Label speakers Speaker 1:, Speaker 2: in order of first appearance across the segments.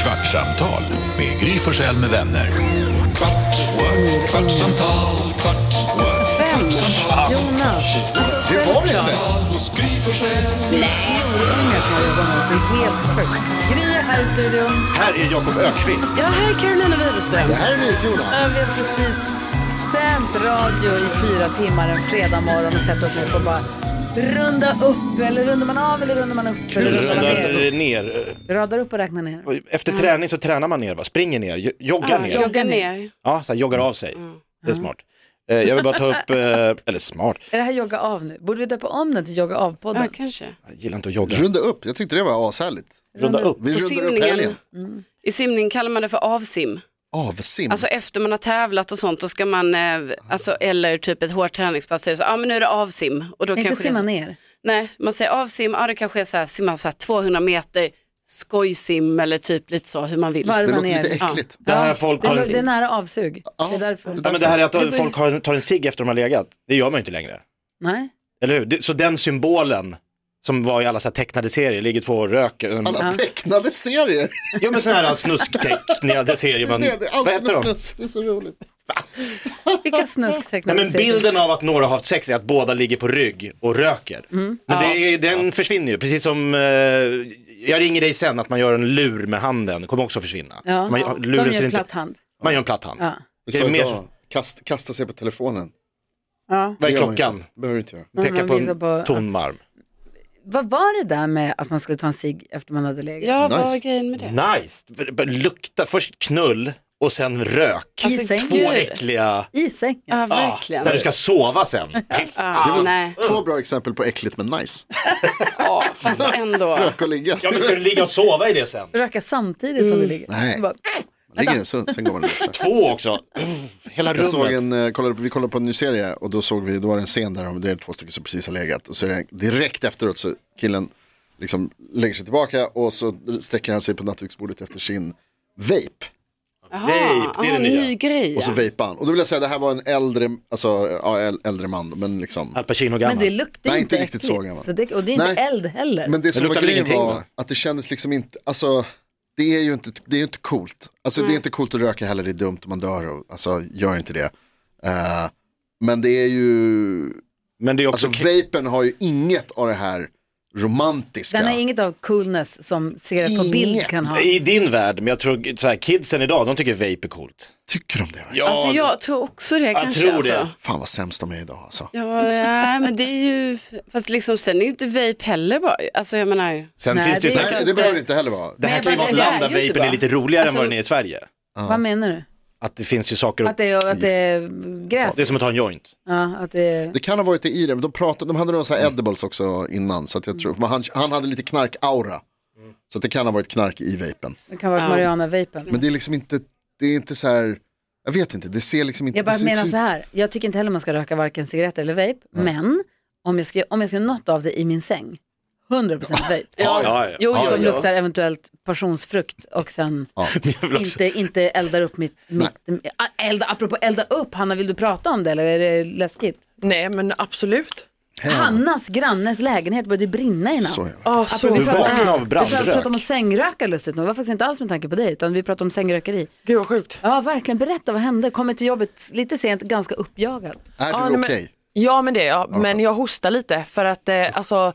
Speaker 1: Kvartsamtal med Gry Forssell med vänner. Kvart, what? kvartsamtal, kvart, what?
Speaker 2: Vem?
Speaker 1: kvartsamtal
Speaker 2: Jonas. Alltså,
Speaker 3: Det var vi inte.
Speaker 1: hos Gry Forssell.
Speaker 2: Nej. Snorungar som har jobbat med oss. Det är helt sjukt. Gry är här i studion.
Speaker 4: Här är Jakob Ökvist.
Speaker 5: Ja, här är Carolina Widerström.
Speaker 3: Det här är
Speaker 2: Vi har
Speaker 3: NyhetsJonas.
Speaker 2: precis sänt radio i fyra timmar en fredag morgon och sett oss nu för att bara runda upp. Eller rundar man av eller rundar man upp? Eller rundar man ner?
Speaker 4: Rundar ner.
Speaker 2: Vi radar upp och räknar ner.
Speaker 4: Efter träning så tränar man ner, va? springer ner, jo- joggar ner.
Speaker 5: Jogga ner.
Speaker 4: Ja, så här, joggar av sig.
Speaker 3: Mm.
Speaker 4: Det är smart. Eh, Jag vill bara ta upp, eh, eller smart,
Speaker 2: Är det här jogga av nu? Borde vi döpa om den till jogga
Speaker 5: Ja,
Speaker 2: av-podden?
Speaker 5: kanske.
Speaker 4: jag gillar inte att jogga.
Speaker 3: Runda upp, jag tyckte det var ashärligt.
Speaker 4: Runda upp.
Speaker 3: Vi
Speaker 5: Och
Speaker 3: rundar upp
Speaker 5: simningen.
Speaker 3: helgen.
Speaker 5: I simning kallar man det för avsim.
Speaker 3: Avsim.
Speaker 5: Alltså efter man har tävlat och sånt, då ska man, eh, alltså, eller typ ett hårt träningspass, så är det så, ah, men nu är det avsim. Och då
Speaker 2: Inte
Speaker 5: kanske det är
Speaker 2: simma
Speaker 5: så,
Speaker 2: ner.
Speaker 5: Nej, man säger avsim, ja det kanske är så här, simmar så här 200 meter, skojsim eller typ lite så hur man vill.
Speaker 3: det
Speaker 2: Varva
Speaker 3: låter
Speaker 2: ner.
Speaker 3: lite
Speaker 2: Det,
Speaker 3: äckligt.
Speaker 4: Det här, folk har,
Speaker 2: är- det är nära avsug. Det är därför.
Speaker 4: ja, men det här är
Speaker 2: Det
Speaker 4: att
Speaker 2: blir-
Speaker 4: folk har, tar en cigg efter de har legat, det gör man ju inte längre.
Speaker 2: Nej.
Speaker 4: Eller hur? Det- Så den symbolen som var i alla så här tecknade serier, ligger två och röker.
Speaker 3: Alla tecknade serier.
Speaker 4: Jo men sådana här snusktecknade serier, man,
Speaker 3: det, det är
Speaker 4: vad
Speaker 3: alltid
Speaker 4: heter
Speaker 3: med
Speaker 4: de?
Speaker 3: snusk. Det är så roligt.
Speaker 2: Vilka snusktecknade
Speaker 4: Nej, men
Speaker 2: serier?
Speaker 4: bilden av att några har haft sex är att båda ligger på rygg och röker.
Speaker 2: Mm.
Speaker 4: Men det, är- den försvinner ju, precis som, eh, jag ringer dig sen, att man gör en lur med handen, kommer också försvinna.
Speaker 2: Ja.
Speaker 4: För man,
Speaker 2: De
Speaker 4: luren
Speaker 2: gör
Speaker 4: ser
Speaker 2: en
Speaker 4: inte,
Speaker 2: platt hand.
Speaker 4: man gör en platt hand.
Speaker 2: Ja.
Speaker 3: Vi
Speaker 4: Det
Speaker 3: sa
Speaker 4: är mer,
Speaker 3: idag, kast, kasta sig på telefonen.
Speaker 2: Ja.
Speaker 4: vad är
Speaker 3: Det gör man
Speaker 4: klockan?
Speaker 3: inte. Det behöver du inte göra.
Speaker 4: Pekar
Speaker 2: man
Speaker 4: på
Speaker 2: visar
Speaker 4: en
Speaker 2: på-
Speaker 4: tom varm.
Speaker 2: Vad var det där med att man skulle ta en cigg efter man hade legat?
Speaker 5: Ja, vad
Speaker 3: Nice.
Speaker 5: är grejen med det?
Speaker 4: Nice, B- b- lukta, först knull och sen rök.
Speaker 2: Alltså,
Speaker 4: Två
Speaker 2: gud.
Speaker 4: äckliga,
Speaker 2: I sängen?
Speaker 5: Ja,
Speaker 4: ah,
Speaker 5: verkligen.
Speaker 4: när du ska sova sen.
Speaker 5: Ja,
Speaker 3: Det var
Speaker 5: nej,
Speaker 3: två bra exempel på äckligt men nice.
Speaker 5: ja, fast alltså, ändå.
Speaker 3: Rök och ligga.
Speaker 4: ja men ska du ligga och sova i det sen?
Speaker 2: Röka samtidigt som du ligger?
Speaker 3: Nej.
Speaker 2: Bara,
Speaker 3: Ligger den så, sen går man ner.
Speaker 4: Två också, hela
Speaker 3: Jag såg
Speaker 4: rummet.
Speaker 3: en, eh, kollade, på- vi kollade på en ny serie och då såg vi, då var det en scen där de, det är två stycken som precis har legat och så är det en- direkt efteråt så killen liksom lägger sig tillbaka och så sträcker han sig på nattduksbordet efter sin vape
Speaker 5: Jaha,
Speaker 4: Vape, det är det
Speaker 5: ah,
Speaker 4: nya.
Speaker 5: ny grej.
Speaker 3: och så
Speaker 5: ja.
Speaker 3: vapar han. Och då vill jag säga det här var en äldre, alltså ja, äl- äldre man men liksom.
Speaker 4: Al Pacino
Speaker 2: men
Speaker 4: gammal.
Speaker 2: det luktar ju
Speaker 3: Nej,
Speaker 2: inte
Speaker 3: inte riktigt så
Speaker 2: äckligt,
Speaker 3: gammal.
Speaker 2: så det, Och det är inte
Speaker 3: Nej.
Speaker 2: eld heller.
Speaker 3: Men det som var
Speaker 4: luktar väl
Speaker 3: grejen
Speaker 4: ingenting,
Speaker 3: var
Speaker 4: va?
Speaker 3: att det kändes liksom inte, alltså det är ju inte, det är ju inte coolt. Alltså det är inte coolt att röka heller, det är dumt om man dör och alltså gör inte det. Eh, men det är ju
Speaker 4: Men det är också
Speaker 3: Alltså vapen har ju inget av det här romantiska.
Speaker 2: Den har inget av coolness som ser på
Speaker 3: Inget.
Speaker 2: bild kan ha.
Speaker 4: I din värld, men jag tror så här, kidsen idag, de tycker vape är coolt.
Speaker 3: Tycker de det?
Speaker 4: Ja,
Speaker 5: Alltså jag tror också det kanske.
Speaker 4: tror
Speaker 5: alltså.
Speaker 4: det.
Speaker 3: Fan vad sämst de är idag alltså.
Speaker 5: Ja, ja, men det är ju, fast liksom sen är ju inte vape heller bra. Alltså jag menar,
Speaker 4: sen
Speaker 2: Nej,
Speaker 4: finns det ju
Speaker 2: det
Speaker 4: så
Speaker 2: är
Speaker 3: Nej,
Speaker 4: här,
Speaker 3: det
Speaker 5: inte-
Speaker 3: behöver det inte heller vara.
Speaker 4: det här
Speaker 5: Nej,
Speaker 4: kan ju
Speaker 5: bara-
Speaker 4: vara ett
Speaker 5: det här
Speaker 4: land där
Speaker 5: är ju inte
Speaker 4: vapen är
Speaker 5: bra.
Speaker 4: lite roligare
Speaker 5: Alltså-
Speaker 4: än vad den är i Sverige.
Speaker 2: Vad menar du?
Speaker 4: Att det finns ju saker,
Speaker 2: Att det är, att det är gräs?
Speaker 4: det är som att ha en joint.
Speaker 2: Ja, att det är...
Speaker 3: Det kan ha varit det i det, men de, pratade, de hade några så här edibles också innan. Så att jag tror, men han, han hade lite knark-aura. Så att det kan ha varit knark i vapen.
Speaker 2: Det kan vara Mariana-vapen.
Speaker 3: Men det är liksom inte, det är inte så här, jag vet inte, det ser liksom inte...
Speaker 2: Jag bara
Speaker 3: det ser
Speaker 2: menar
Speaker 3: liksom-
Speaker 2: så här, jag tycker inte heller man ska röka varken cigaretter eller vape, men om jag ska, om jag ska göra något av det i min säng, 100% vape.
Speaker 4: Ja, ja, ja.
Speaker 5: jo, jo,
Speaker 2: som
Speaker 5: jo.
Speaker 2: luktar eventuellt passionsfrukt och sen
Speaker 4: Jag vill också-
Speaker 2: inte, inte eldar upp mitt, mitt ä- elda, apropå elda upp, Hanna vill du prata om det eller är det läskigt?
Speaker 6: Nej men absolut.
Speaker 2: Hannas grannes lägenhet började brinna i natt.
Speaker 3: Så är det.
Speaker 6: Oh, så
Speaker 2: vi
Speaker 4: Du
Speaker 2: pratar-
Speaker 4: vaknar av
Speaker 2: Vi pratar-
Speaker 4: brandrök.
Speaker 2: pratar om att sängröka lustigt nog, det var faktiskt inte alls med tanke på dig utan vi pratar om sängrökeri.
Speaker 6: Gud vad sjukt.
Speaker 2: Ja verkligen, berätta vad hände, kommer till jobbet lite sent, ganska uppjagad.
Speaker 3: Är du
Speaker 6: Ja, ah, nej,
Speaker 3: okej?
Speaker 6: men- Ja men det är jag, men jag hostar lite för att eh, alltså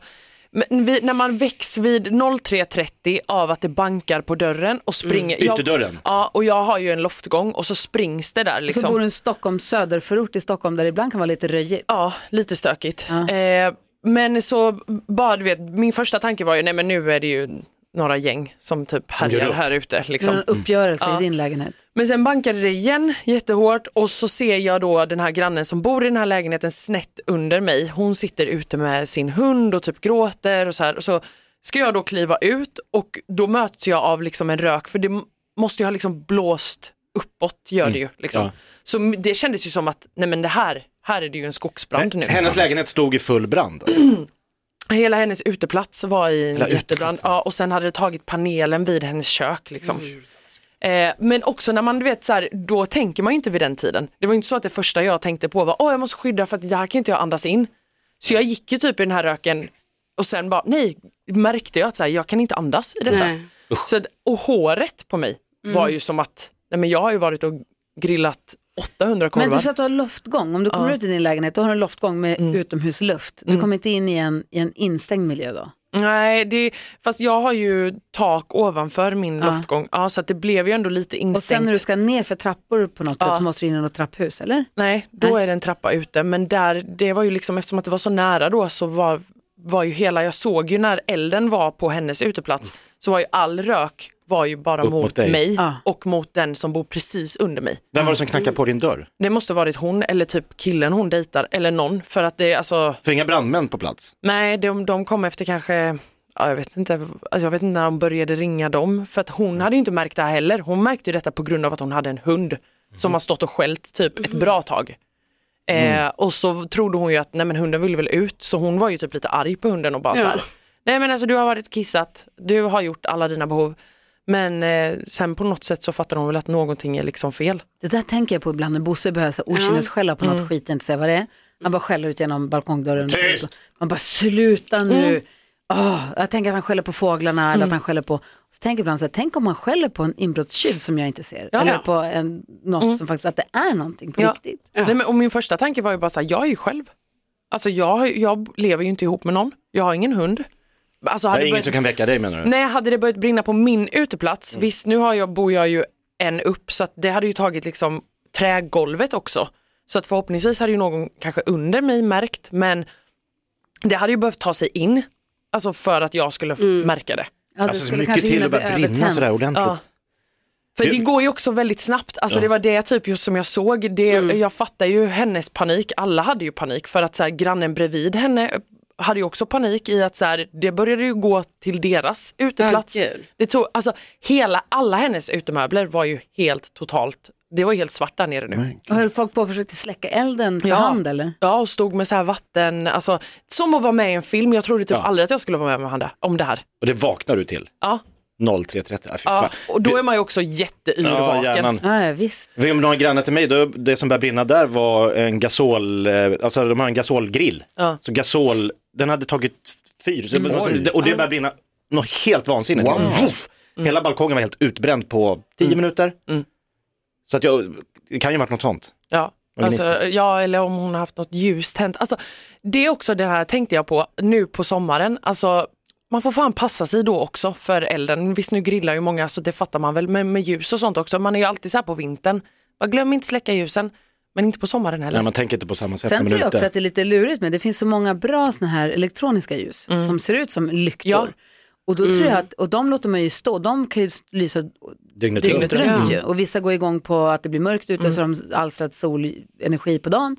Speaker 6: men vi, när man väcks vid 03.30 av att det bankar på dörren och springer. jag-
Speaker 4: ytterdörren.
Speaker 6: Ja, och jag har ju en loftgång och så springs det där
Speaker 2: Så
Speaker 6: liksom.
Speaker 2: bor du i en Stockholm söderförort i Stockholm där det ibland kan vara lite röjigt.
Speaker 6: Ja, lite stökigt. Eh, men så bara du vet, min första tanke var ju nej men nu är det ju några gäng som typ härjar
Speaker 4: upp.
Speaker 6: här ute. Liksom.
Speaker 2: Som en uppgörelse i din lägenhet.
Speaker 6: Men sen bankade det igen jättehårt och så ser jag då den här grannen som bor i den här lägenheten snett under mig. Hon sitter ute med sin hund och typ gråter och så här. Och så ska jag då kliva ut och då möts jag av liksom en rök för det m- måste ju ha liksom blåst uppåt gör det ju. Liksom.
Speaker 4: Mm, ja.
Speaker 6: Så m- det kändes ju som att nej men det här, här är det ju en skogsbrand nu.
Speaker 4: Hennes lägenhet stod i full brand. Alltså.
Speaker 6: Hela hennes uteplats var i en
Speaker 4: Hela
Speaker 6: jättebrand. Ja, och sen hade det tagit panelen vid hennes kök. Liksom. Eh, men också när man, du vet, så här, då tänker man ju inte vid den tiden. Det var ju inte så att det första jag tänkte på var, åh jag måste skydda för att det här kan ju inte jag andas in. Så jag gick ju typ i den här röken och sen bara, nej, Mm. märkte jag att så här, jag kan inte andas i detta.
Speaker 5: Nej.
Speaker 6: Så, att- och håret på mig var ju som att, nej men jag har ju varit och grillat 800 korvar.
Speaker 2: Men du sa att du har loftgång. Om du kommer ut i din lägenhet, då har du en loftgång med
Speaker 6: Mm.
Speaker 2: utomhusluft. Du kommer inte in i en, i en instängd miljö då?
Speaker 6: Nej, det, fast jag har ju tak ovanför min loftgång, ja, så att det blev ju ändå lite instängt.
Speaker 2: Och sen när du ska ner för trappor på något sätt så måste du in i något trapphus, eller?
Speaker 6: Nej, då är det en trappa ute, men där, det var ju liksom, eftersom att det var så nära då så var, var ju hela, jag såg ju när elden var på hennes uteplats, så var ju all rök var ju bara
Speaker 4: Upp mot
Speaker 6: mot
Speaker 4: dig.
Speaker 6: mig
Speaker 2: Ja.
Speaker 6: och mot den som bor precis under mig.
Speaker 4: Vem var det som knackade på din dörr?
Speaker 6: Det måste varit hon eller typ killen hon dejtar eller någon för att det alltså,
Speaker 4: För inga brandmän på plats.
Speaker 6: nej de, de kom efter kanske, ja, jag vet inte, alltså, jag vet inte när de började ringa dem för att hon hade ju inte märkt det här heller. Hon märkte ju detta på grund av att hon hade en hund som har stått och skällt typ ett bra tag. Eh, och så trodde hon ju att nej men hunden ville väl ut så hon var ju typ lite arg på hunden och bara så här, nej men alltså du har varit och kissat, du har gjort alla dina behov. Men eh, sen på något sätt så fattar hon väl att någonting är liksom fel.
Speaker 2: Det där tänker jag på ibland när Bosse börjar så okynnesskälla på något
Speaker 6: Mm.
Speaker 2: skit jag inte säger vad det är. Han bara skäller ut genom balkongdörren. Man bara sluta nu.
Speaker 6: Mm.
Speaker 2: Åh, jag tänker att han skäller på fåglarna eller att han skäller på... Så tänker jag ibland så här, tänk om han skäller på en inbrottstjuv som jag inte ser. Eller på en, något som faktiskt, att det är någonting på
Speaker 6: Mm. Ja.
Speaker 2: riktigt.
Speaker 6: Nej, men, och min första tanke var ju bara så här, jag är ju själv. Alltså jag, jag lever ju inte ihop med någon, jag har ingen hund. Alltså,
Speaker 4: Det
Speaker 6: hade
Speaker 4: är ingen
Speaker 6: börjat,
Speaker 4: som kan Mm. väcka dig menar du?
Speaker 6: Nej, hade det börjat brinna på min uteplats, visst nu har jag, bor jag ju en upp så att det hade ju tagit liksom trägolvet också. Så att förhoppningsvis hade ju någon kanske under mig märkt men det hade ju behövt ta sig in, alltså för att jag skulle märka det.
Speaker 2: Ja, det
Speaker 4: Alltså så
Speaker 2: skulle
Speaker 4: mycket
Speaker 2: kanske
Speaker 4: till
Speaker 2: hinna
Speaker 4: att börja
Speaker 2: bli
Speaker 4: brinna sådär
Speaker 2: övertänt.
Speaker 4: ordentligt.
Speaker 6: Ja. För det,
Speaker 4: Det-
Speaker 6: går ju också väldigt snabbt, alltså det var det typ just som jag såg, det,
Speaker 5: Mm.
Speaker 6: jag fattar ju hennes panik, alla hade ju panik för att så här, grannen bredvid henne hade ju också panik i att så här, det började ju gå till deras uteplats.
Speaker 5: Ja, gud.
Speaker 6: det tog, alltså, hela, alla hennes utemöbler var ju helt totalt, det var ju helt svart där nere nu.
Speaker 2: Och höll folk på och försökte släcka elden för
Speaker 6: Ja.
Speaker 2: hand eller?
Speaker 6: Ja, och stod med så här vatten, alltså, som att vara med i en film, jag trodde typ aldrig att jag skulle vara med om han där- om det här.
Speaker 4: Och det vaknar du till.
Speaker 6: Ja,
Speaker 4: 03.30. Ja, fy
Speaker 6: ja.
Speaker 4: fan.
Speaker 6: Och då
Speaker 4: Vi-
Speaker 6: är man ju också jätteyrvaken.
Speaker 4: ja, hjärnan.
Speaker 2: Ja, ja, visst.
Speaker 4: Om någon granne till mig, då, det som började brinna där var en gasol, eh, alltså de har en gasolgrill.
Speaker 6: Ja.
Speaker 4: Så gasol, den hade tagit fyr så-
Speaker 3: Oj.
Speaker 4: och det började brinna något helt vansinnigt.
Speaker 3: Wow.
Speaker 4: Voff! Hela balkongen var helt utbränd på tio
Speaker 2: Mm.
Speaker 4: minuter. Så att jag, det kan ju ha varit något sånt.
Speaker 6: Ja.
Speaker 4: Och
Speaker 6: Alltså,
Speaker 4: gnistor.
Speaker 6: ja, eller om hon har haft något ljus tänt. Alltså, det är också det här tänkte jag på nu på sommaren. Alltså, man får fan passa sig då också för elden. Visst, nu grillar ju många, så det fattar man väl, men med ljus och sånt också. Man är ju alltid så här på vintern. Bara, glöm inte släcka ljusen, men inte på sommaren heller.
Speaker 4: Nej, man tänker inte på samma sätt
Speaker 2: Sen
Speaker 4: när
Speaker 2: tror
Speaker 4: man är
Speaker 2: jag också
Speaker 4: ute.
Speaker 2: att det är lite lurigt men det finns så många bra såna här elektroniska ljus som ser ut som lyktor.
Speaker 6: Ja.
Speaker 2: Och då tror jag att, och de låter man ju stå, de kan ju lysa
Speaker 4: Dygnet runt.
Speaker 2: dygnet runt ju. Och vissa går igång på att det blir mörkt ute så de alstrar solenergi på dagen.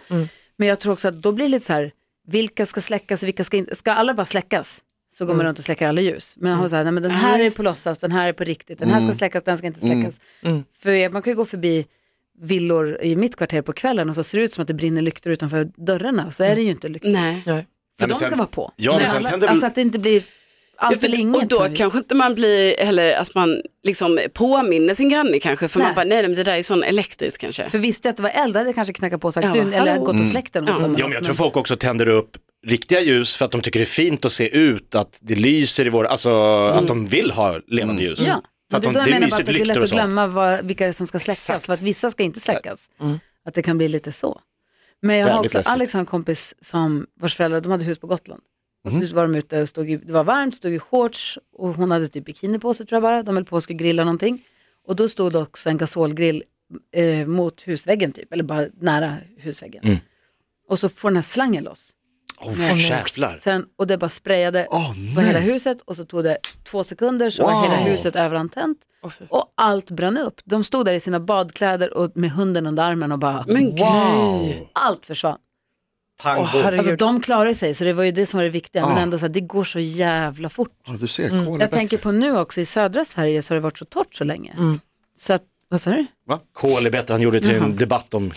Speaker 2: Men jag tror också att då blir det lite så här, vilka ska släckas och vilka ska inte, ska alla bara släckas? Så går man runt och släcker alla ljus. Men har så här, nej men den här är på låtsas, den här är på riktigt, den här ska släckas, den ska inte släckas. För man kan ju gå förbi villor i mitt kvarter på kvällen och så ser det ut som att det brinner lyktor utanför dörrarna och så är det ju inte lyktor.
Speaker 5: Nej.
Speaker 6: Nej.
Speaker 2: För
Speaker 4: Nej, men
Speaker 2: de
Speaker 4: sen-
Speaker 2: ska vara på.
Speaker 4: Ja, men
Speaker 2: Nej,
Speaker 4: sen
Speaker 2: alla-
Speaker 4: tänder väl-
Speaker 2: Alltså att det inte blir allt för
Speaker 5: för-
Speaker 2: länge.
Speaker 5: och då
Speaker 2: på något vis.
Speaker 6: liksom.
Speaker 5: kanske inte man blir, eller att man liksom påminner sin granne kanske, för
Speaker 2: Nej.
Speaker 5: man bara, nej men det där är sån elektrisk kanske.
Speaker 2: För visste jag att det var eld, då hade jag kanske knackat på och sagt
Speaker 5: Ja,
Speaker 2: du, eller
Speaker 5: hallå.
Speaker 2: gått och släckt den åt dem.
Speaker 4: Ja, men Mm. jag tror folk också tänder upp riktiga ljus för att de tycker det är fint att se ut, att det lyser i vår, alltså att de vill ha levande ljus.
Speaker 2: Mm. Ja,
Speaker 4: För
Speaker 2: men
Speaker 4: att
Speaker 2: det är
Speaker 4: de,
Speaker 2: då
Speaker 4: Mm.
Speaker 2: jag
Speaker 4: det är
Speaker 2: menar bara att
Speaker 4: mysigt,
Speaker 2: det är
Speaker 4: lyktor
Speaker 2: lätt
Speaker 4: och
Speaker 2: att
Speaker 4: sånt.
Speaker 2: glömmas vad, vilka det är som ska släckas. För att vissa ska inte släckas. Att det kan bli lite så. Men jag har
Speaker 4: Jävligt
Speaker 2: också,
Speaker 4: läskigt.
Speaker 2: Alex har en kompis som, vars föräldrar, de hade hus på Gotland. Och
Speaker 4: Mhm.
Speaker 2: så var de ute, och stod i, det var varmt, stod i shorts och hon hade typ bikini på sig tror jag bara. De höll på och skulle grilla någonting. Och då stod det också en gasolgrill eh, mot husväggen typ, eller bara nära husväggen.
Speaker 4: Mm.
Speaker 2: Och så får den här slangen loss.
Speaker 4: Oh, jävlar.
Speaker 2: Sen, och det bara sprayade på hela huset och så tog det två sekunder så var hela huset överantänt. och allt brann upp. De stod där i sina badkläder och med hunden under armen och bara
Speaker 5: Men gud.
Speaker 2: allt försvann.
Speaker 4: Pang,
Speaker 6: Åh, herregud.
Speaker 2: Alltså de klarade sig så det var ju det som var det viktiga men ändå så här, det går så jävla fort.
Speaker 3: Ja, Ah, du ser, kolen
Speaker 2: Jag tänker på nu också i södra Sverige så har det varit så torrt så länge. Så att, vad sa du?
Speaker 4: Kol är bättre, han gjorde det till en debatt om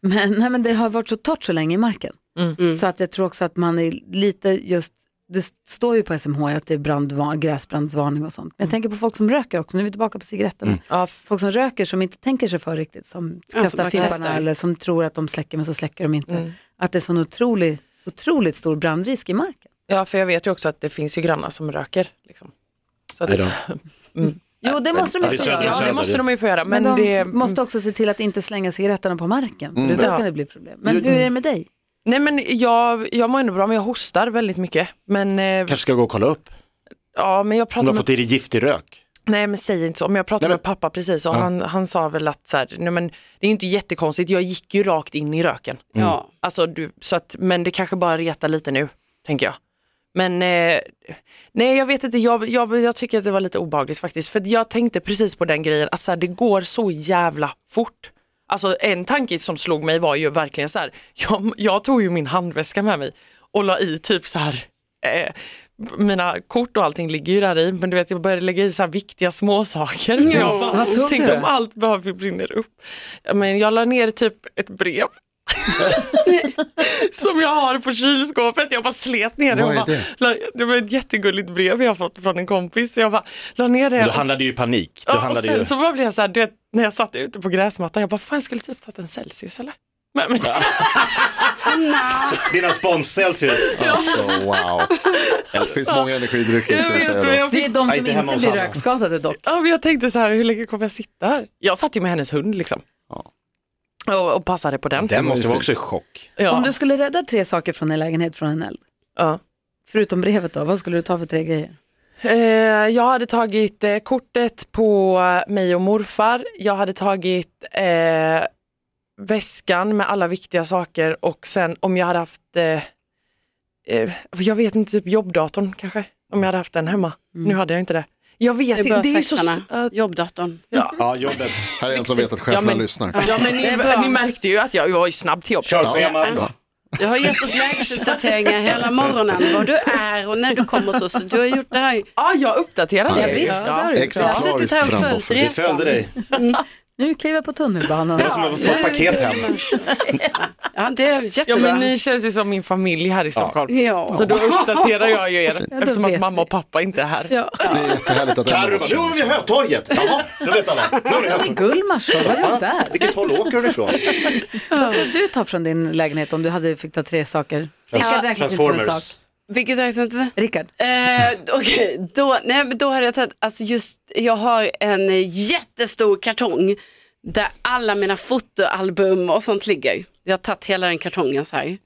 Speaker 2: Men, nej, men det har varit så torrt så länge i marken.
Speaker 4: Mm.
Speaker 2: Så att jag tror också att man är lite just, det står ju på SMH att det är brandva- gräsbrandsvarning och sånt. Men jag tänker på folk som röker också, nu är vi tillbaka på cigaretterna.
Speaker 4: Mm.
Speaker 6: Ja, f-
Speaker 2: Folk som röker som inte tänker sig för riktigt, som kastar
Speaker 5: bara
Speaker 2: fimparna
Speaker 5: kastar.
Speaker 2: eller som tror att de släcker men så släcker de inte. Att det är sån otrolig, otroligt stor brandrisk i marken.
Speaker 6: ja, för jag vet ju också att det finns ju grannar som röker. Liksom. Så att,
Speaker 4: Nej då.
Speaker 2: Jo, det måste de
Speaker 4: det
Speaker 2: ju
Speaker 4: är
Speaker 2: få
Speaker 4: södra
Speaker 2: göra.
Speaker 6: Ja, det
Speaker 4: söder.
Speaker 6: måste de ju få göra. Men,
Speaker 2: Men de
Speaker 6: det,
Speaker 2: måste också se till att inte slänga cigaretterna på marken.
Speaker 4: Mm.
Speaker 2: För då
Speaker 6: Ja.
Speaker 2: kan det bli problem. Men hur är det med dig?
Speaker 6: nej, men jag, jag mår ändå bra, men jag hostar väldigt mycket. Men, eh,
Speaker 4: Kanske ska jag gå och kolla upp.
Speaker 6: ja, men jag
Speaker 4: Om du
Speaker 6: pratar
Speaker 4: har
Speaker 6: med
Speaker 4: fått i dig giftig rök.
Speaker 6: Nej men säg inte så, men jag pratade
Speaker 4: Nej, men-
Speaker 6: med pappa precis och han, han sa väl att så här, nej, men det är ju inte jättekonstigt, jag gick ju rakt in i röken.
Speaker 5: Ja.
Speaker 6: Alltså, du, så att, men det kanske bara retar lite nu, tänker jag. Men eh, nej jag vet inte, jag, jag, jag tycker att det var lite obehagligt faktiskt. För att jag tänkte precis på den grejen att så här, det går så jävla fort. Alltså en tanke som slog mig var ju verkligen så här, jag, jag tog ju min handväska med mig och la i typ så här, eh, mina kort och allting ligger ju där i, men du vet jag började lägga i så här viktiga småsaker. Ja, jag bara,
Speaker 2: Vad tog
Speaker 6: tänk
Speaker 2: du?
Speaker 6: om allt bara brinner upp. Ja, Men jag la ner typ ett brev som jag har på kylskåpet. Jag bara slet ner det.
Speaker 3: Vad
Speaker 6: och
Speaker 3: är
Speaker 6: bara, la, det var ett jättegulligt brev jag fått från en kompis. Jag bara la ner det.
Speaker 4: Du
Speaker 6: och-
Speaker 4: handlade ju i panik. Du
Speaker 6: Ja, och
Speaker 4: handlade ju...
Speaker 6: sen så bara blev jag så här, du vet, när jag satt ute på gräsmattan, jag bara, fan jag skulle typ tagit en Celsius eller? Men, men,
Speaker 4: Dina spons Celsius.
Speaker 3: Alltså wow.
Speaker 4: Alltså,
Speaker 3: Det finns många energidrycker
Speaker 6: jag,
Speaker 3: ska jag säga då.
Speaker 6: vet, men jag,
Speaker 2: Det är
Speaker 6: fick,
Speaker 2: de
Speaker 4: Nej,
Speaker 2: som
Speaker 4: inte hemma
Speaker 2: inte
Speaker 4: hos
Speaker 2: blir
Speaker 4: Hanna.
Speaker 2: rökskadade dock.
Speaker 6: ja, men jag tänkte så här, hur länge kommer jag sitta här? Jag satt ju med hennes hund liksom. Och, och passade på den.
Speaker 4: Den måste
Speaker 3: ju
Speaker 4: vara
Speaker 3: fint.
Speaker 4: också i chock.
Speaker 6: Ja.
Speaker 2: Om du skulle rädda tre saker från en lägenhet från en eld,
Speaker 6: ja.
Speaker 2: förutom brevet då, vad skulle du ta för tre grejer?
Speaker 6: Eh, jag hade tagit eh, kortet på mig och morfar. Jag hade tagit eh, väskan med alla viktiga saker och sen om jag hade haft, eh, eh, jag vet inte, typ jobbdatorn kanske. Om jag hade haft den hemma. Nu hade jag inte det. Jag vet
Speaker 5: Det är
Speaker 6: inte,
Speaker 5: bara
Speaker 6: det är så...
Speaker 5: säckarna, jobbdatorn.
Speaker 4: Ja, jobbet.
Speaker 3: Här är en som vet att
Speaker 6: Ja,
Speaker 3: cheferna
Speaker 6: men-
Speaker 3: lyssnar.
Speaker 6: Ja men ni, ni märkte ju att jag, jag var ju snabb till jobbet.
Speaker 4: Körschema.
Speaker 5: Du har gett oss lägesuppdateringar hela morgonen, var du är och när du kommer och så. så du har gjort det här.
Speaker 6: Ja, jag uppdaterade
Speaker 3: Ja,
Speaker 6: det.
Speaker 3: visst,
Speaker 6: Ja.
Speaker 5: Jag har
Speaker 3: Exemplariskt
Speaker 5: suttit här och följt
Speaker 3: framtoffer.
Speaker 4: Vi
Speaker 5: resan.
Speaker 4: följde dig.
Speaker 2: Nu kliver jag på tunnelbanan.
Speaker 4: Det var som att få ett paket hem.
Speaker 5: Ja, det är jättebra.
Speaker 6: Ja men ni känns ju som min familj här i Stockholm.
Speaker 5: Ja.
Speaker 6: Så då uppdaterar jag ju er
Speaker 2: då
Speaker 6: eftersom att
Speaker 2: vet
Speaker 6: mamma och pappa inte är här.
Speaker 3: Det är jättehärligt att
Speaker 4: Carro bara, nu var vi vid Hötorget. Jaha, nu vet alla. Nu har vi
Speaker 2: Vad är
Speaker 4: Hötorget.
Speaker 2: Gullmars då? Vad är det där?
Speaker 4: Vilket håll åker du ifrån?
Speaker 2: Vad skulle du ta från din lägenhet om du hade fick ta tre saker? Rickard räknas inte som en sak.
Speaker 5: Vilket räknas inte?
Speaker 2: Rickard,
Speaker 5: Eh, Okej, då, nej, men då hade jag tagit, alltså just, jag har en jättestor kartong där alla mina fotoalbum och sånt ligger. Jag har tagit hela den kartongen så här.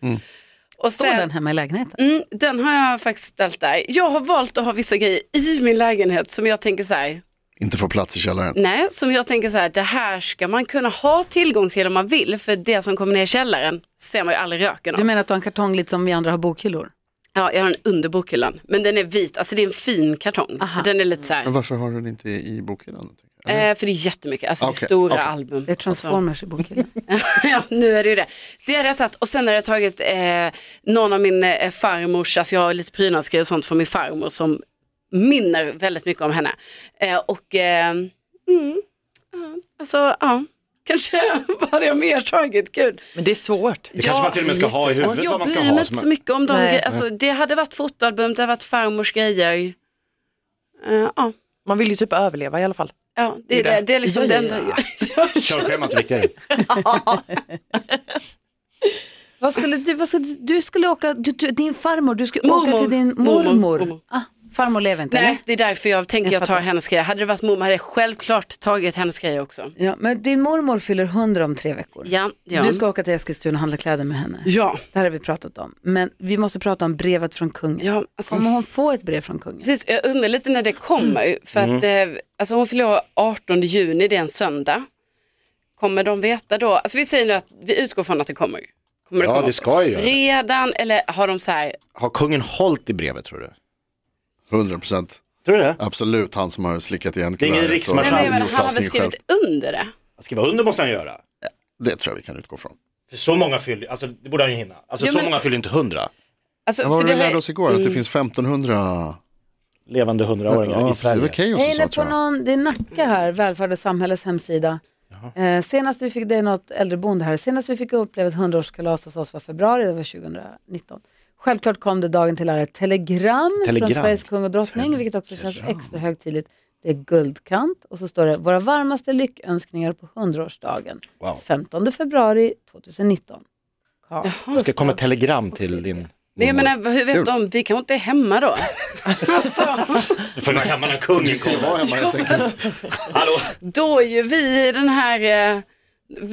Speaker 5: Och
Speaker 2: står
Speaker 5: sen,
Speaker 2: den hemma i lägenheten?
Speaker 5: Mm, den har jag faktiskt ställt där. Jag har valt att ha vissa grejer i min lägenhet som jag tänker så här,
Speaker 3: Inte få plats i källaren.
Speaker 5: nej, som jag tänker så här, det här ska man kunna ha tillgång till om man vill, för det som kommer ner i källaren ser man ju aldrig röken
Speaker 2: Du
Speaker 5: av.
Speaker 2: menar att du har en kartong lite som vi andra har bokhyllor?
Speaker 5: Ja, jag har den under bokhyllan, men den är vit, alltså det är en fin kartong, så den är lite så här,
Speaker 3: Men varför har du den inte i i bokhyllan?
Speaker 5: eh, för det är jättemycket, alltså det är
Speaker 3: Okej,
Speaker 5: stora
Speaker 3: okej.
Speaker 5: album.
Speaker 2: Det är Transformers i bokhyllan.
Speaker 5: ja, nu är det ju det. Det hade jag tagit och sen hade jag tagit eh, någon av min eh, farmors, alltså jag har lite prydnadsgrejer och sånt från min farmor som minner väldigt mycket om henne. Eh, och eh, mm, ja, alltså ja, kanske vad hade jag mer tagit, gud.
Speaker 6: Men det är svårt.
Speaker 4: Det kanske man till och med ska ha i
Speaker 5: Alltså,
Speaker 4: huvudet vad
Speaker 5: jag
Speaker 4: man ska
Speaker 5: bryr mig
Speaker 4: ha.
Speaker 5: inte så
Speaker 4: som-
Speaker 5: mycket om de
Speaker 6: Nej.
Speaker 5: grejerna, alltså, det hade varit fotoalbum, det hade varit farmors grejer. Eh, ja.
Speaker 6: Man vill ju typ överleva i alla fall.
Speaker 5: Ja, det är,
Speaker 6: Det är
Speaker 5: det.
Speaker 6: det.
Speaker 5: Det är liksom
Speaker 6: Ja, ja,
Speaker 5: det enda
Speaker 6: ja.
Speaker 4: Körschemat är viktigare.
Speaker 2: Vad skulle du, vad skulle, du- du skulle åka, du, du, din farmor, du skulle åka
Speaker 5: Mormor.
Speaker 2: till din
Speaker 5: Mormor,
Speaker 2: mormor.
Speaker 5: mormor.
Speaker 2: Ah, farmor lever inte,
Speaker 5: Nej,
Speaker 2: eller?
Speaker 5: det är därför jag tänker jag tar hennes grejer. Hade det varit mormor hade jag självklart tagit hennes grejer också.
Speaker 2: Ja, men din mormor fyller 100 om tre veckor.
Speaker 5: Ja, ja.
Speaker 2: Du ska åka till Eskilstuna och handla kläder med henne.
Speaker 5: Ja,
Speaker 2: Det här har vi pratat om. Men vi måste prata om brevet från kungen.
Speaker 5: ja alltså,
Speaker 2: Kommer hon få ett brev från kungen?
Speaker 5: precis. Jag undrar lite när det kommer. För att, eh, alltså, hon fyller år 18 juni, det är en söndag. Kommer de veta då? Alltså, vi säger nu att vi utgår från att det kommer. kommer
Speaker 4: Ja,
Speaker 5: komma
Speaker 4: det ska ju
Speaker 5: på
Speaker 4: göra det.
Speaker 5: Fredagen, eller har de så här,
Speaker 4: Har kungen hållit i brevet tror du?
Speaker 3: 100 procent.
Speaker 4: Tror du det?
Speaker 3: Absolut han som har slickat igen
Speaker 4: är ingen
Speaker 3: kuvertet och
Speaker 4: riksmarskall.
Speaker 5: nej, men jag menar,
Speaker 3: gjort
Speaker 5: han har väl
Speaker 3: allting
Speaker 5: skrivit
Speaker 3: själv.
Speaker 5: under det?
Speaker 4: Skriva under måste han göra.
Speaker 3: Det tror jag vi kan utgå från.
Speaker 4: För så många fyller, alltså det borde han ju hinna. Alltså
Speaker 5: Ja,
Speaker 4: så
Speaker 5: men-
Speaker 4: många fyller inte hundra.
Speaker 5: Alltså,
Speaker 3: Ja, vad
Speaker 5: för
Speaker 3: vi
Speaker 5: det har-
Speaker 3: lärde oss igår, att det finns 1500
Speaker 4: Levande hundraåringar
Speaker 3: ja,
Speaker 4: i
Speaker 3: precis, det
Speaker 4: Sverige.
Speaker 3: var Keyyo
Speaker 2: Jag är
Speaker 3: som
Speaker 2: inne
Speaker 3: sa
Speaker 2: på
Speaker 3: tror jag.
Speaker 2: någon, det är Nacka här, Välfärd och samhälles hemsida. Eh, senast vi fick, det är något äldreboende här, senast vi fick uppleva ett 100-årskalas hos oss var februari, det var 2019. Självklart kom det dagen till ära ett telegram,
Speaker 4: Telegram.
Speaker 2: från Sveriges kung och drottning, vilket också känns extra högtidligt. Det är guldkant och så står det våra varmaste lyckönskningar på 100-årsdagen,
Speaker 4: Wow.
Speaker 2: 15 februari 2019. Carl
Speaker 4: Ska
Speaker 2: Gustaf.
Speaker 4: komma ett telegram till din...
Speaker 5: Men jag menar, hur vet de? Vi kanske inte är hemma då. alltså,
Speaker 4: För den här hemma när kungen
Speaker 3: Det var
Speaker 4: kommer.
Speaker 3: hemma helt enkelt.
Speaker 4: Hallå,
Speaker 5: då är ju vi i den här... eh,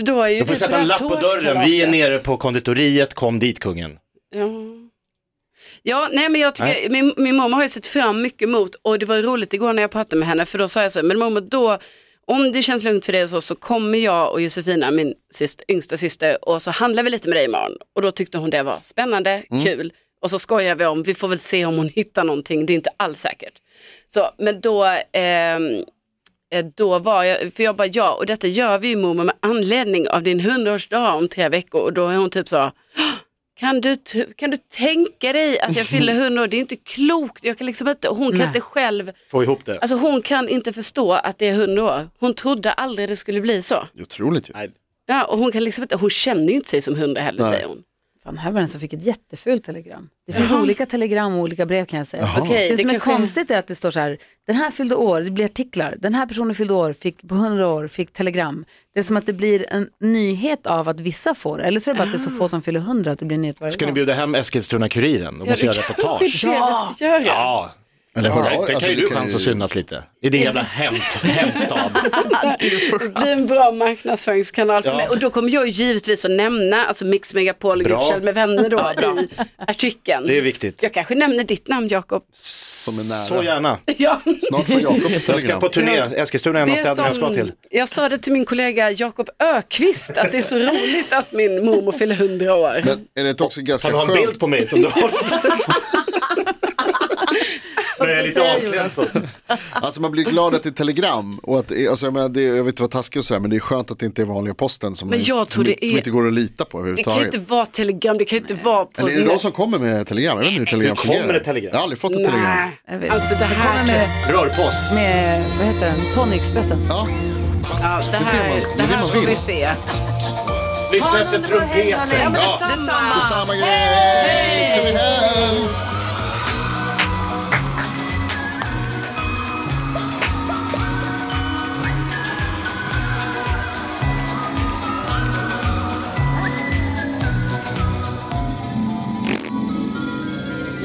Speaker 5: Då är ju
Speaker 4: du får
Speaker 5: vi
Speaker 4: sätta
Speaker 5: det
Speaker 4: en
Speaker 5: här
Speaker 4: lapp på dörren. Vi är
Speaker 5: tårtkalaset.
Speaker 4: nere på konditoriet, kom dit kungen.
Speaker 5: Ja. Ja, nej men jag tycker, min, min mamma har ju sett fram mycket emot och det var roligt igår när jag pratade med henne för då sa jag så, här, men mamma då, om det känns lugnt för dig och så, så kommer jag och Josefina, min syster, yngsta syster, och så handlar vi lite med dig imorgon. Och då tyckte hon det var spännande, kul. Och så skojar vi om, vi får väl se om hon hittar någonting, det är inte alls säkert. Så, men då, ehm, Eh, då var jag, för jag bara ja, och detta gör vi ju mormor med anledning av din hundraårsdag om tre veckor och då är hon typ så, "Hå! kan du, t- kan du tänka dig att jag fyller hundra år, det är inte klokt, jag kan liksom inte, hon kan
Speaker 2: Nej.
Speaker 5: inte själv,
Speaker 4: Få ihop det.
Speaker 5: alltså hon kan inte förstå att det är hundra år, hon trodde aldrig det skulle bli så.
Speaker 3: Det är otroligt ju.
Speaker 4: Nej.
Speaker 5: Ja, och hon kan liksom inte, hon känner ju inte sig som hundra heller
Speaker 3: Nej.
Speaker 5: säger hon.
Speaker 2: Fan, här var den som fick ett jättefult telegram. Det finns olika telegram och olika brev kan jag säga.
Speaker 5: Okej,
Speaker 2: Det,
Speaker 5: det
Speaker 2: som är
Speaker 5: kanske-
Speaker 2: konstigt är att det står så här, den här fyllde år, det blir artiklar, den här personen fyllde år, fick på 100 år, fick telegram. Det är som att det blir en nyhet av att vissa får, eller så är det bara att det är så få som fyller 100 att det blir en nyhet varje
Speaker 4: Ska ni
Speaker 2: gång.
Speaker 4: bjuda hem Eskilstuna-Kuriren? De måste
Speaker 5: det
Speaker 4: göra reportage.
Speaker 5: Det är det vi ska göra.
Speaker 4: Ja,
Speaker 3: Eller hör av er.
Speaker 4: där kan
Speaker 3: Alltså,
Speaker 4: ju
Speaker 3: vi
Speaker 4: du
Speaker 3: kan
Speaker 4: chans
Speaker 3: ju-
Speaker 4: att synas lite. I din jävla hämt- hemstad.
Speaker 5: Det blir en bra marknadsföringskanal för
Speaker 4: Ja.
Speaker 5: mig. Och då kommer jag ju givetvis att nämna alltså Mix Megapol och
Speaker 4: Bra.
Speaker 5: Gryfsjäll med vänner då i artikeln.
Speaker 4: Det är viktigt.
Speaker 5: Jag kanske nämner ditt namn Jakob.
Speaker 3: Som är nära.
Speaker 4: Så gärna.
Speaker 5: Ja.
Speaker 3: Snart får Jakob ett
Speaker 4: Jag ska
Speaker 3: telegram.
Speaker 4: på turné. Eskilstuna är en av städerna jag ska till.
Speaker 5: jag sa det till min kollega Jakob Ökvist att det är så roligt att min mormor fyller 100 år.
Speaker 3: Men är det inte också ganska
Speaker 4: Kan du ha en
Speaker 3: skönt?
Speaker 4: bild på mig som du har? Men jag är lite avklädd så.
Speaker 3: Alltså man blir glad att det är telegram. Och att, det är- alltså, jag, menar, det, är- jag vet inte vad taskigt och sådär men det är skönt att det inte är vanliga posten som,
Speaker 5: Men jag
Speaker 3: som,
Speaker 5: tror det
Speaker 3: som
Speaker 5: är-
Speaker 3: inte går att lita på
Speaker 5: Det kan ju
Speaker 3: överhuvudtaget.
Speaker 5: inte vara telegram, det kan ju inte vara på...
Speaker 3: Eller är det de som kommer med telegram? Jag vet inte hur telegram
Speaker 4: Hur kommer
Speaker 3: fungerar.
Speaker 4: ett telegram?
Speaker 3: Jag har aldrig fått ett telegram.
Speaker 5: Nej,
Speaker 2: Jag vet.
Speaker 5: alltså det
Speaker 2: Kommer
Speaker 5: här...
Speaker 2: med,
Speaker 4: Rörpost.
Speaker 2: med, vad heter den, Ponyexpressen.
Speaker 3: Ja,
Speaker 5: Ja, det
Speaker 3: det
Speaker 5: här,
Speaker 3: man- det är
Speaker 5: det
Speaker 3: det
Speaker 5: här
Speaker 3: man
Speaker 5: får
Speaker 3: vill.
Speaker 5: vi se.
Speaker 4: Lyssna efter trumpeten.
Speaker 5: Ja, men
Speaker 4: Ja.
Speaker 5: detsamma. detsamma.
Speaker 3: samma grej. Till min helg.